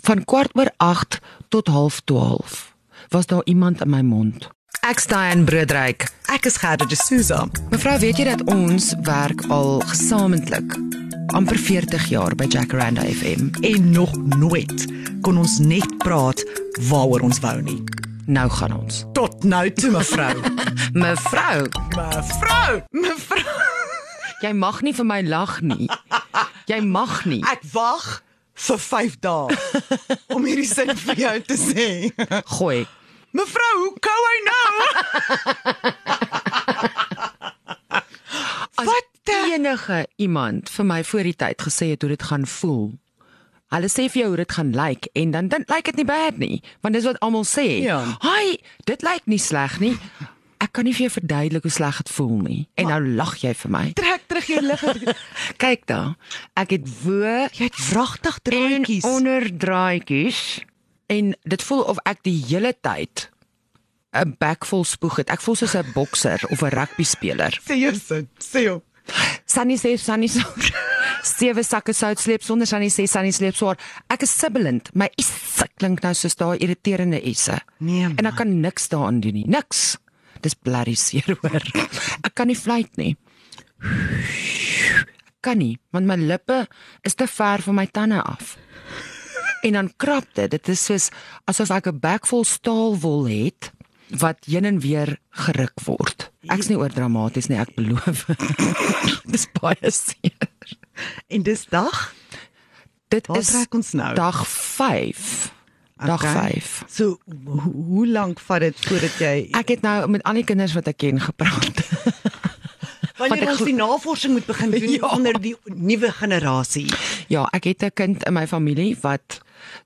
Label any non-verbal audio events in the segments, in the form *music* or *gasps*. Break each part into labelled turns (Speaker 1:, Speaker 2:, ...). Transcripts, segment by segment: Speaker 1: van kwart oor 8 tot 0.30 was daar iemand in my mond.
Speaker 2: Ek staan broodryk. Ek is Gerda de Souza.
Speaker 1: Mevrou, weet jy dat ons werk al gesamentlik amper 40 jaar by Jacaranda FM.
Speaker 2: En nog nooit kon ons net praat waaroor ons wou nie.
Speaker 1: Nou gaan ons.
Speaker 2: Tot nou toe mevrou.
Speaker 1: *laughs* Mevrou,
Speaker 2: mevrou, mevrou.
Speaker 1: jy mag nie vir my lag nie. Jy mag nie.
Speaker 2: Ek wag vir 5 dae om hierdie sin vir jou te sê.
Speaker 1: Gooi.
Speaker 2: Mevrou, hoe kou hy nou?
Speaker 1: As Wat enige iemand vir my voor die tyd gesê het hoe dit gaan voel. Hulle sê vir jou hoe dit gaan lyk en dan dan lyk dit nie bad nie, want dis wat almal sê.
Speaker 2: Ja.
Speaker 1: Hi, dit lyk nie sleg nie. Ek kan nie vir jou verduidelik hoe sleg dit voel nie. En nou lag jy vir my.
Speaker 2: Trek terug jou lig.
Speaker 1: *laughs* Kyk daar. Ek het woe
Speaker 2: Jy het wragtig
Speaker 1: en
Speaker 2: draadjies.
Speaker 1: onderdraadjies en dit voel of ek die hele tyd 'n bek vol spoeg het. Ek voel soos 'n bokser of 'n rugby speler.
Speaker 2: Sê jou sin. Sê jou.
Speaker 1: Sunny sê Sunny so. Sewe sakke sout sleep sonder Sunny sê Sunny sleep swaar. Ek is sibbelend. My isse klink nou soos daai irriterende isse.
Speaker 2: Nee,
Speaker 1: En ek kan niks daaraan doen nie. Niks. Dis blerrie seer hoor. Ek kan nie fluit nie. Ek Kan nie, want my lippe is te ver van my tande af. En dan krap dit. Dit is soos asof ek 'n bek vol staalwol het wat heen en weer geruk word. Ek's nie oor dramaties nie, ek beloof. *laughs* Dis baie seer.
Speaker 2: En dis dag.
Speaker 1: Dit
Speaker 2: Waar
Speaker 1: is
Speaker 2: trek ons nou?
Speaker 1: dag 5. Dag
Speaker 2: Okay.
Speaker 1: 5.
Speaker 2: So ho hoe lank vat dit voordat jy
Speaker 1: Ek het nou met al die kinders wat ek ken gepraat. *laughs*
Speaker 2: wanneer
Speaker 1: ek
Speaker 2: ons
Speaker 1: glo-
Speaker 2: die navorsing moet
Speaker 1: *laughs*
Speaker 2: begin doen
Speaker 1: Ja.
Speaker 2: onder die nuwe generasie?
Speaker 1: Ja, ek het 'n kind in my familie wat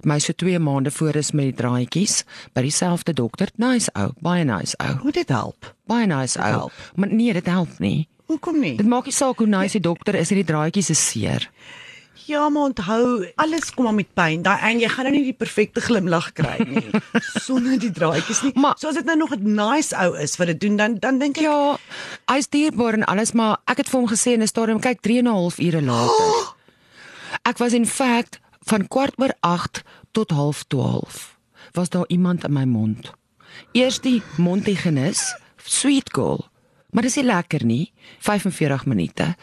Speaker 1: my so 2 maande voor is met die draadjies by dieselfde dokter. Nice ou, baie nice ou.
Speaker 2: Hoe dit help?
Speaker 1: Baie nice ou.
Speaker 2: help.
Speaker 1: Maar nee, dit help nie.
Speaker 2: Hoekom nie?
Speaker 1: Dit maak nie saak hoe nice die dokter is, hierdie draadjies is seer.
Speaker 2: Ja, maar onthou, alles kom maar met pyn. Daai en jy gaan nou nie die perfekte glimlag kry nie *laughs* sonder die draadjies nie.
Speaker 1: Maar-
Speaker 2: Maar, so as dit nou nog 'n nice ou is wat dit doen dan dan dink ek ja,
Speaker 1: Ja, hy's dierbaar en alles, maar ek het vir hom gesê in 'n stadium, kyk 3 en 'n half ure later. Ek was in fact van kwart oor 8 tot 0.30 was daar iemand in my mond. Eers die mondhygiënis, sweet girl. Maar dis nie lekker nie. 45 minute.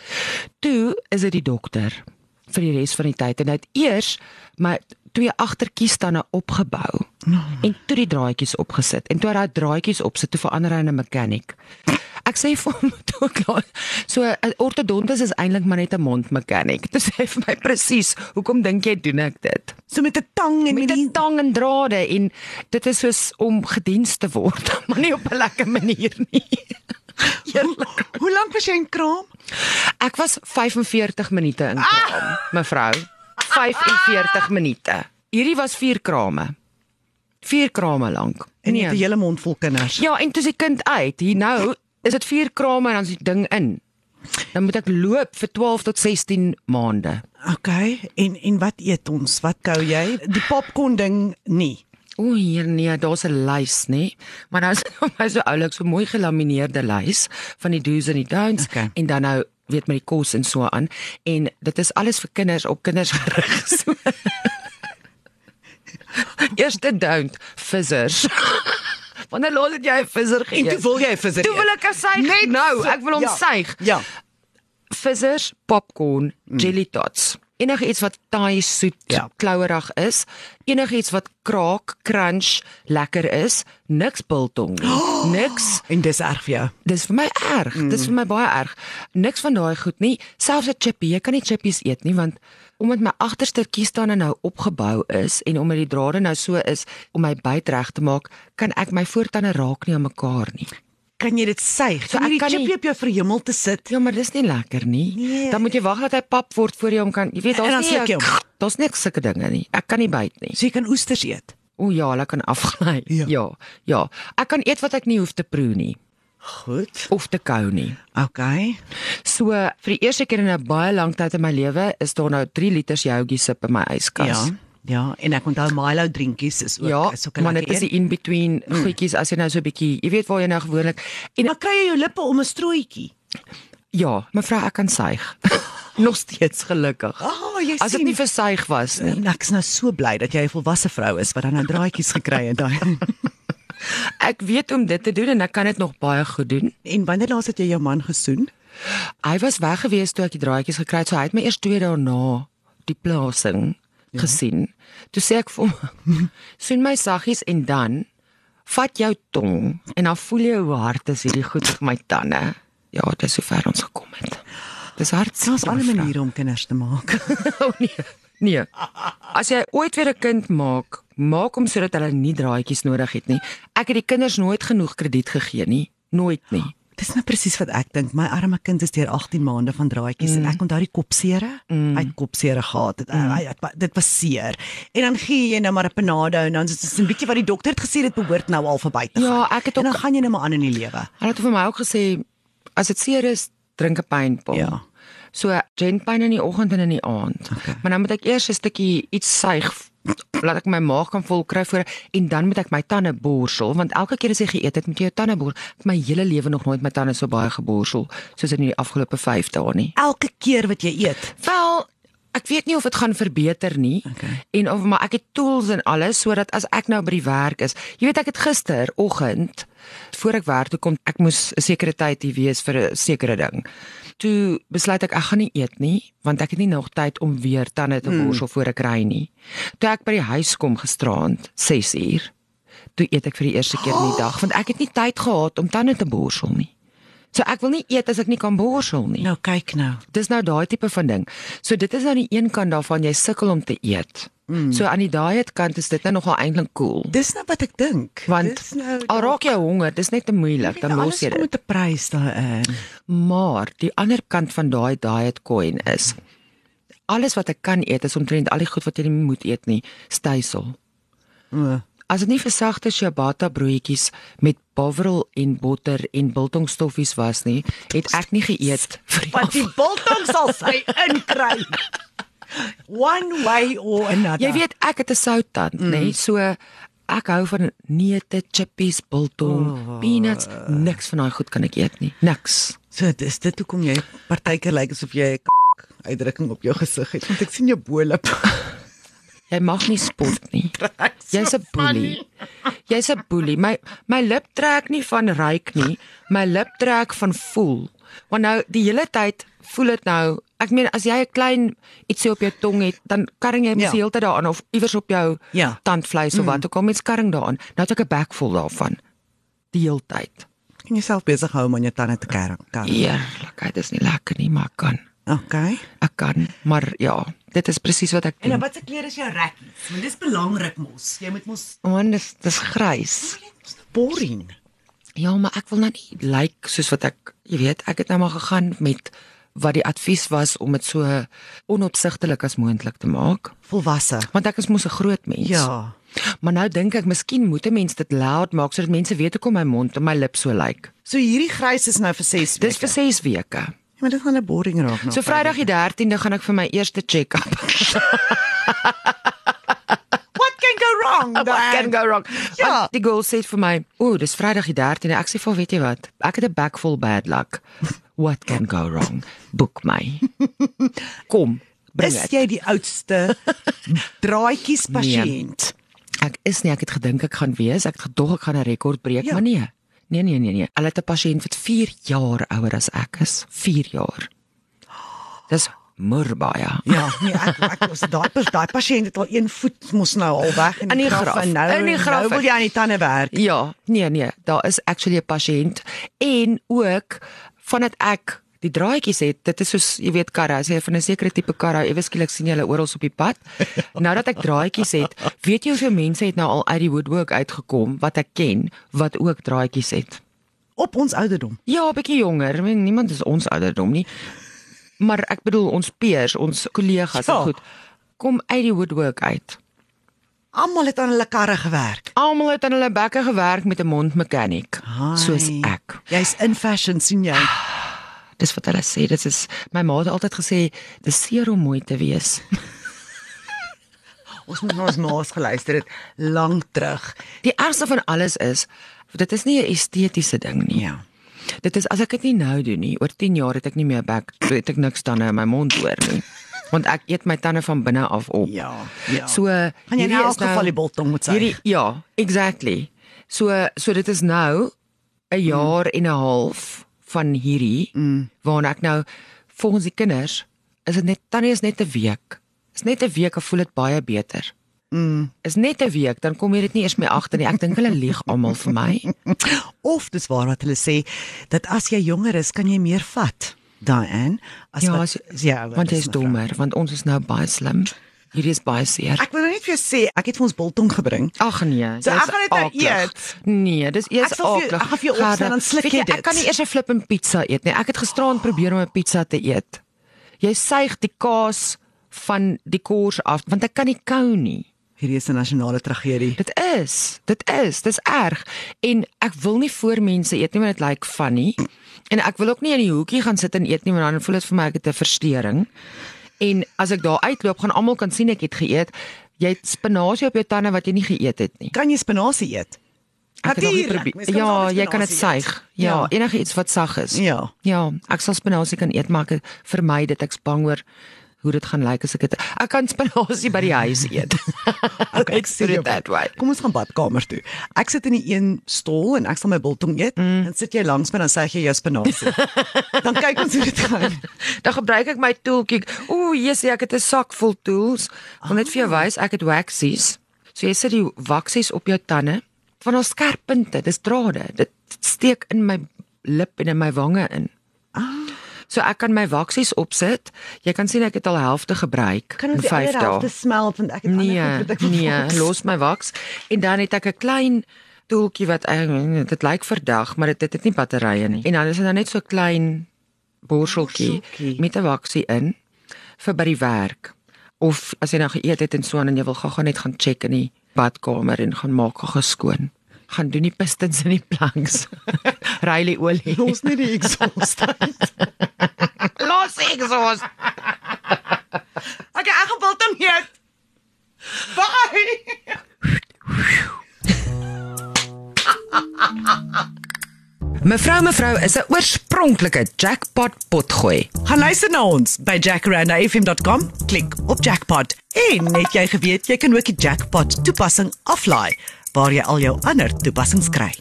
Speaker 1: Toe is dit die dokter vir die res van die tyd en hy het eers my twee agterkiestande opgebou. En toe die draadjies opgesit en toe hy daai draadjies opsit, toe verander hy in 'n mechanic. Ek sê vir hom *laughs* toe ek laat. So 'n ortodontis is eintlik maar net 'n *laughs* mondmechanic. Dis hy vir my presies, hoekom dink jy doen ek dit?
Speaker 2: so met 'n tang en
Speaker 1: Met
Speaker 2: met, die
Speaker 1: 'n tang en drade en dit is soos om gediens te word, *laughs* maar nie op 'n lekker manier nie. *laughs* Eerlik.
Speaker 2: Hoe lank was jy in kraam?
Speaker 1: Ek was 45 minute in kraam, mevrou. 45 minute. Hierdie was vier krame. Vier krame lank.
Speaker 2: En jy het 'n hele mond vol kinders.
Speaker 1: Ja, en toe is die kind uit. Hier nou is dit vier krame en dan is die ding in. Dan moet ek loop vir 12 tot 16 maande.
Speaker 2: Okay, en en wat eet ons? Wat kou jy? Die popcorn ding nie.
Speaker 1: O hier nee, daar's 'n lys, nê? *laughs* Maar nou is my so oulik so mooi gelamineerde lys van die do's en die don'ts
Speaker 2: Okay.
Speaker 1: en dan nou weet met die kos en so aan en dit is alles vir kinders op kinders gerig. *laughs* So. Eerste don't, vissers. *laughs* Wanneer laat het jy 'n visser
Speaker 2: En
Speaker 1: geëet?
Speaker 2: toe wil jy vir sy
Speaker 1: Toe wil ek hom suig.
Speaker 2: Net
Speaker 1: nou,
Speaker 2: so-
Speaker 1: ek wil hom
Speaker 2: ja,
Speaker 1: suig.
Speaker 2: Ja.
Speaker 1: vissers, popcorn, mm. jelly tots. Enige iets wat taai soet, ja.
Speaker 2: Ja.
Speaker 1: klouerig is, enige iets wat kraak, crunch, lekker is, niks biltong nie. *gasps* Oh. Niks.
Speaker 2: En dis erg vir jou.
Speaker 1: Dis vir my erg. Mm. Dis vir my baie erg. Niks van daai goed nie. Selfs 'n chippie, jy kan nie chippies eet nie want omdat my agterste kiestande nou opgebou is en omdat die drade nou so is om my byt reg te maak, kan ek my voortande raak nie aan mekaar nie.
Speaker 2: Kan jy dit suig?
Speaker 1: So
Speaker 2: So,
Speaker 1: ek
Speaker 2: jy
Speaker 1: kan
Speaker 2: kan
Speaker 1: nie-
Speaker 2: nie op jou verhemel te sit.
Speaker 1: Ja, maar dis nie lekker nie.
Speaker 2: Nee.
Speaker 1: Dan moet jy wag dat hy pap word voor jy hom kan. Jy weet
Speaker 2: En dan
Speaker 1: daar's nie
Speaker 2: sluk jy hom.
Speaker 1: ek- daar's niks sulke dinge nie. Ek kan nie byt nie.
Speaker 2: So jy kan oesters eet.
Speaker 1: O ja, hulle kan afgly.
Speaker 2: Ja.
Speaker 1: ja, ja. Ek kan eet wat ek nie hoef te proe nie
Speaker 2: Goed.
Speaker 1: of te kou nie.
Speaker 2: Okay.
Speaker 1: So vir die eerste keer in 'n baie lang tyd in my lewe is daar nou 3 liter joutjie sip in my yskas.
Speaker 2: Ja. Ja, en ek onthou Milo drinkies is ook
Speaker 1: Ja,
Speaker 2: is ook 'n
Speaker 1: maar dit
Speaker 2: lekker Mm.
Speaker 1: is die in between goedjies as jy nou so 'n bietjie, jy weet waar jy nou gewoonlik en
Speaker 2: Maar kry jy jou lippe om 'n strooitjie?
Speaker 1: Ja, mevrou, ek kan suig. *laughs* Nog steeds gelukkig.
Speaker 2: Ah, jy
Speaker 1: As dit
Speaker 2: sien.
Speaker 1: nie versuig was nie.
Speaker 2: En ek's nou so bly dat jy 'n volwasse vrou is wat dan nou draadjies gekry het daai.
Speaker 1: Ek weet om dit te doen en ek kan dit nog baie goed doen.
Speaker 2: *laughs* En wanneer laas het jy jou man gesoen?
Speaker 1: Hy was weg gewees toe ek die draadjies gekry het, so hy het my eers 2 dae na die plasing ja. gesien. Toe sê ek vir hom: *laughs* "Soen my saggies en dan vat jou tong en dan voel jy hoe hard is hierdie goed op my tande." Ja, dis hoe ver ons gekom het. Dis hard.
Speaker 2: Daar's alle
Speaker 1: mevrou.
Speaker 2: maniere om kinders te maak.
Speaker 1: *laughs*
Speaker 2: *laughs*
Speaker 1: Oh nee. Nee. As jy ooit weer 'n kind maak, maak hom sodat hulle nie draadjies nodig het nie. Ek het die kinders nooit genoeg krediet gegee nie, nooit nie.
Speaker 2: Dis nou presies wat ek dink. My arme kind is deur 18 maande van draadjies mm. en ek onthou die kopsere. Mm. Hy het kopsere gehad. Dit mm. hy, hy, dit was seer. En dan gee jy nou maar 'n panado en dan is dit 'n bietjie wat die dokter het gesê dit behoort nou al verby te gaan.
Speaker 1: Ja, ek het
Speaker 2: En dan
Speaker 1: ook-
Speaker 2: gaan jy nou maar aan in die lewe.
Speaker 1: Hulle het vir my ook gesê as dit seer is, drink 'n pynpil.
Speaker 2: Ja.
Speaker 1: So genpyn in die oggend en in die aand. Okay. Maar dan moet ek eers 'n stukkie iets suig laat ek my maag kan vol kry voor en dan moet ek my tande borsel want elke keer as jy geëet het moet jy jou tande borsel. Ek het My hele lewe nog nooit my tande so baie geborsel soos in die afgelope 5 dae nie.
Speaker 2: Elke keer wat jy eet.
Speaker 1: Wel, ek weet nie of dit gaan verbeter nie.
Speaker 2: Okay.
Speaker 1: En of maar ek het tools en alles sodat as ek nou by die werk is. Jy weet ek het gisteroggend voor ek werk toe kom, ek moes 'n sekere tyd hier wees vir 'n sekere ding. Toe besluit ek ek gaan nie eet nie, want ek het nie nog tyd om weer tande te borsel voor ek ry nie. Toe ek by die huis kom gisteraand, 6 uur, toe eet ek vir die eerste keer in die dag, want ek het nie tyd gehad om tande te borsel nie. So ek wil nie eet as ek nie kan borsel nie.
Speaker 2: Nou kyk nou.
Speaker 1: Dis nou daai tipe van ding. So dit is nou die een kant daarvan jy sukkel om te eet.
Speaker 2: Hmm.
Speaker 1: Mm. So aan die diet kant is dit nou nogal eintlik cool.
Speaker 2: Dis nou wat ek dink.
Speaker 1: Want
Speaker 2: Dis nou
Speaker 1: al raak jy honger, dis net te moeilik, dan los jy
Speaker 2: Alles kom
Speaker 1: dit.
Speaker 2: met 'n prys daarin.
Speaker 1: Maar die ander kant van daai diet coin is alles wat ek kan eet is omtrent al die goed wat jy nie moet eet nie, styfsel.
Speaker 2: O,
Speaker 1: As dit nie versagte ciabatta broodjies met bavrel en botter en biltongstoffies was nie, het ek nie geëet vir die
Speaker 2: Want die biltong sal sy inkry. One way or another.
Speaker 1: Jy weet ek het 'n souttand, mm. nê? Nee? So ek hou van neute, chippies, biltong, oh. peanuts, niks van daai goed kan ek eet nie. Niks.
Speaker 2: So dis dit hoekom jy partykeer lyk asof jy 'n k- uitdrukking op jou gesig het want ek sien jou bolop.
Speaker 1: Jy mag nie spot nie. Jy's 'n boelie. Jy's 'n boelie. My my lip trek nie van ryk nie. My lip trek van voel. Want nou die hele tyd voel dit nou. Ek meen as jy 'n klein ietsie op jou tong het, dan karring jy mos
Speaker 2: Ja.
Speaker 1: die hele tyd daaraan of iewers op jou
Speaker 2: Ja.
Speaker 1: tandvleis of wat ook al mens karring daaraan. Nou het ek 'n bek vol daarvan. Die hele tyd.
Speaker 2: Kan jouself besig hou om aan jou tande te kerm. Kan.
Speaker 1: Eerlikheid is nie lekker nie, maar ek kan.
Speaker 2: Okay.
Speaker 1: Ek kan, maar ja, dit is presies wat ek doen.
Speaker 2: watse nou, kleur is jou rekkies? Want dis belangrik mos. Jy moet mos
Speaker 1: Man, dis dis grys.
Speaker 2: boring.
Speaker 1: Ja, maar ek wil nou nie lyk like, soos wat ek, jy weet, ek het nou maar gegaan met wat die advies was om dit so onopsigtelik as moontlik te maak,
Speaker 2: Volwasse.
Speaker 1: want ek is mos 'n groot mens.
Speaker 2: Ja.
Speaker 1: Maar nou dink ek miskien moet 'n mens dit loud maak sodat mense weet hoe kom my mond en my lip so lyk. Like.
Speaker 2: So hierdie grys is nou vir 6 weke.
Speaker 1: Dis vir 6 weke.
Speaker 2: Ja, maar dit gaan 'n boring raak nou.
Speaker 1: So Vrydag die 13de gaan ek vir my eerste check-up.
Speaker 2: what can go wrong?
Speaker 1: What can go wrong?
Speaker 2: Ja.
Speaker 1: Ja. Die girl sê vir my, "O, dis Vrydag die 13de." Ek sê vir haar, "Weet jy wat? Ek het 'n bag vol bad luck. What can go wrong? Boek my." *laughs* Kom, bring Nee.
Speaker 2: Is
Speaker 1: dit.
Speaker 2: jy die
Speaker 1: *laughs*
Speaker 2: oudste draadjies pasiënt?
Speaker 1: Ek is nie, ek het gedink ek gaan wees. Ek het gedog ek gaan 'n rekord breek,
Speaker 2: Ja.
Speaker 1: ja. maar nee. Nee nee nee nee. Hulle het 'n pasiënt wat 4 jaar ouer as ek is. 4 jaar. Dis Murbaya.
Speaker 2: Ja, nee, ek ek was daai pers- daai pasiënt het al een voet mos nou al weg in
Speaker 1: In die graf,
Speaker 2: en nou
Speaker 1: in die graf.
Speaker 2: nou wil jy aan die tande werk.
Speaker 1: Ja, nee nee, daar is actually 'n pasiënt en ook vandat ek die draadjies het, dit is soos jy weet karre, as jy van 'n sekere tipe karre hou, ewe skielik sien jy hulle oral op die pad. Nou dat ek draadjies het, weet jy hoeveel mense het nou al uit die woodwork uitgekom wat ek ken wat ook draadjies het.
Speaker 2: op ons ouderdom.
Speaker 1: Ja, 'n bietjie jonger, I mean, niemand is ons ouderdom nie. Maar ek bedoel ons peers, ons kollegas,
Speaker 2: Ja.
Speaker 1: ja. goed. Kom uit die woodwork uit.
Speaker 2: Almal het aan hulle karre gewerk.
Speaker 1: Almal het aan hulle bekke gewerk met 'n mondmekaniek, soos
Speaker 2: Ai,
Speaker 1: ek. Ah.
Speaker 2: Jy's in fashion sien jy.
Speaker 1: Dis wat hulle sê, dit is my ma het altyd gesê, dis seer om mooi te wees. *laughs*
Speaker 2: Ons moet na ons ma's geluister het lank terug.
Speaker 1: Die ergste van alles is dit is nie 'n estetiese ding nie.
Speaker 2: Ja.
Speaker 1: Dit is as ek dit nie nou doen nie, oor 10 jaar het ek nie meer bek, het ek niks tande in my mond hoor nie. Want ek eet my tande van binne af op.
Speaker 2: Ja, ja.
Speaker 1: So
Speaker 2: gaan jy in
Speaker 1: hierdie
Speaker 2: elk
Speaker 1: is nou-
Speaker 2: geval die biltong moet sê.
Speaker 1: Hierdie ja, exactly. So so dit is nou 'n
Speaker 2: Mm.
Speaker 1: jaar en 'n half van hierdie mm. waarna ek nou volgens die kinders is dit net tannie is net 'n week. Is net 'n week, ek voel dit baie beter. Mm. Is net 'n week, dan kom jy dit nie eers meer agter nie. Ek dink hulle lieg almal vir
Speaker 2: *laughs*
Speaker 1: my.
Speaker 2: Of dis waar wat hulle sê dat as jy jonger is, kan jy meer vat. Diane, as
Speaker 1: Ja,
Speaker 2: wat
Speaker 1: as-
Speaker 2: as jy ouer
Speaker 1: Want jy's
Speaker 2: mevrou.
Speaker 1: dommer, want ons is nou baie slim. Hierdie is baie seer.
Speaker 2: Ek wil nou net vir jou sê, ek het vir ons biltong gebring.
Speaker 1: Ag nee, jy's
Speaker 2: So ek gaan dit nou
Speaker 1: akelig.
Speaker 2: eet.
Speaker 1: Nee, dis eers
Speaker 2: Ek sal vir jou-
Speaker 1: aaklig.
Speaker 2: ek gaan vir jou opstaan,
Speaker 1: Gerda,
Speaker 2: dan sluk
Speaker 1: weet
Speaker 2: jy
Speaker 1: Ek
Speaker 2: dit.
Speaker 1: kan nie eers 'n flip en pizza eet nie. Ek het gisteraand probeer om 'n pizza te eet. Jy suig die kaas van die kors af want ek kan nie kou nie.
Speaker 2: Hierdie is 'n nasionale tragedie.
Speaker 1: Dit is, dit is, dis erg. En ek wil nie voor mense eet nie want dit lyk funny. En ek wil ook nie in die hoekie gaan sit en eet nie want dan voel dit vir my ek het 'n verstoring. En as ek daar uitloop, gaan almal kan sien ek het geëet. Jy het spinasie op jou tande wat jy nie geëet het nie.
Speaker 2: Kan jy spinasie eet?
Speaker 1: Ek het nog nie
Speaker 2: Natuurlijk, mens
Speaker 1: probeer.
Speaker 2: kan
Speaker 1: Ja,
Speaker 2: altyd
Speaker 1: jy kan dit
Speaker 2: spinasie
Speaker 1: suig.
Speaker 2: eet.
Speaker 1: Ja,
Speaker 2: Ja.
Speaker 1: ja, enige iets wat sag is.
Speaker 2: Ja.
Speaker 1: Ja, ek sal spinasie kan eet, maar ek vermy dit. Ek's bang oor hoe dit gaan lyk as ek dit Ek kan spinasie by die huis eet. *laughs*
Speaker 2: Okay,
Speaker 1: Let's put
Speaker 2: sien jou
Speaker 1: it that
Speaker 2: punt.
Speaker 1: way.
Speaker 2: Kom ons gaan badkamer toe. Ek sit in die een stol en ek sal my biltong eet. Mm. Dan sit jy langs my en dan sê jy jou spinasie.
Speaker 1: *laughs*
Speaker 2: dan kyk ons hoe dit gaan.
Speaker 1: Dan gebruik ek my toolkit. Ooh, Jesus, ek het 'n sak vol tools. Wil net vir jou wys, ek het waxies. So jy sit die waxies op jou tande van ons skerp punte. Dis drade. Dit steek in my lip en in my wange in. So ek kan my waksies opsit. Jy kan sien ek het al helfte gebruik in 5 dae.
Speaker 2: smelt want ek het
Speaker 1: Nee, nee, los my waks en dan het ek 'n klein toeltjie wat ek dit lyk verdag, maar dit dit het nie batterye nie. En dan is dit nou net so klein borseltjie
Speaker 2: Borseltjie.
Speaker 1: met 'n waksie in vir by die werk. Of as jy nou geëet het en so aan en jy wil gou-gou net gaan check in die badkamer en gaan maak gou geskoon. Gaan doen die pistons in die planks. *laughs* Ry die olie.
Speaker 2: Los net die exhaust.
Speaker 1: Los ek soos.
Speaker 2: okay, ek gaan biltong eet. Bye.
Speaker 1: Mevrou mevrou is 'n oorspronklike jackpot potgooi.
Speaker 2: Gaan luister na ons by jackrandafm.com. Klik op jackpot. En net jy geweet, jy kan ook die jackpot toepassing aflaai waar jy al jou ander toepassings kry.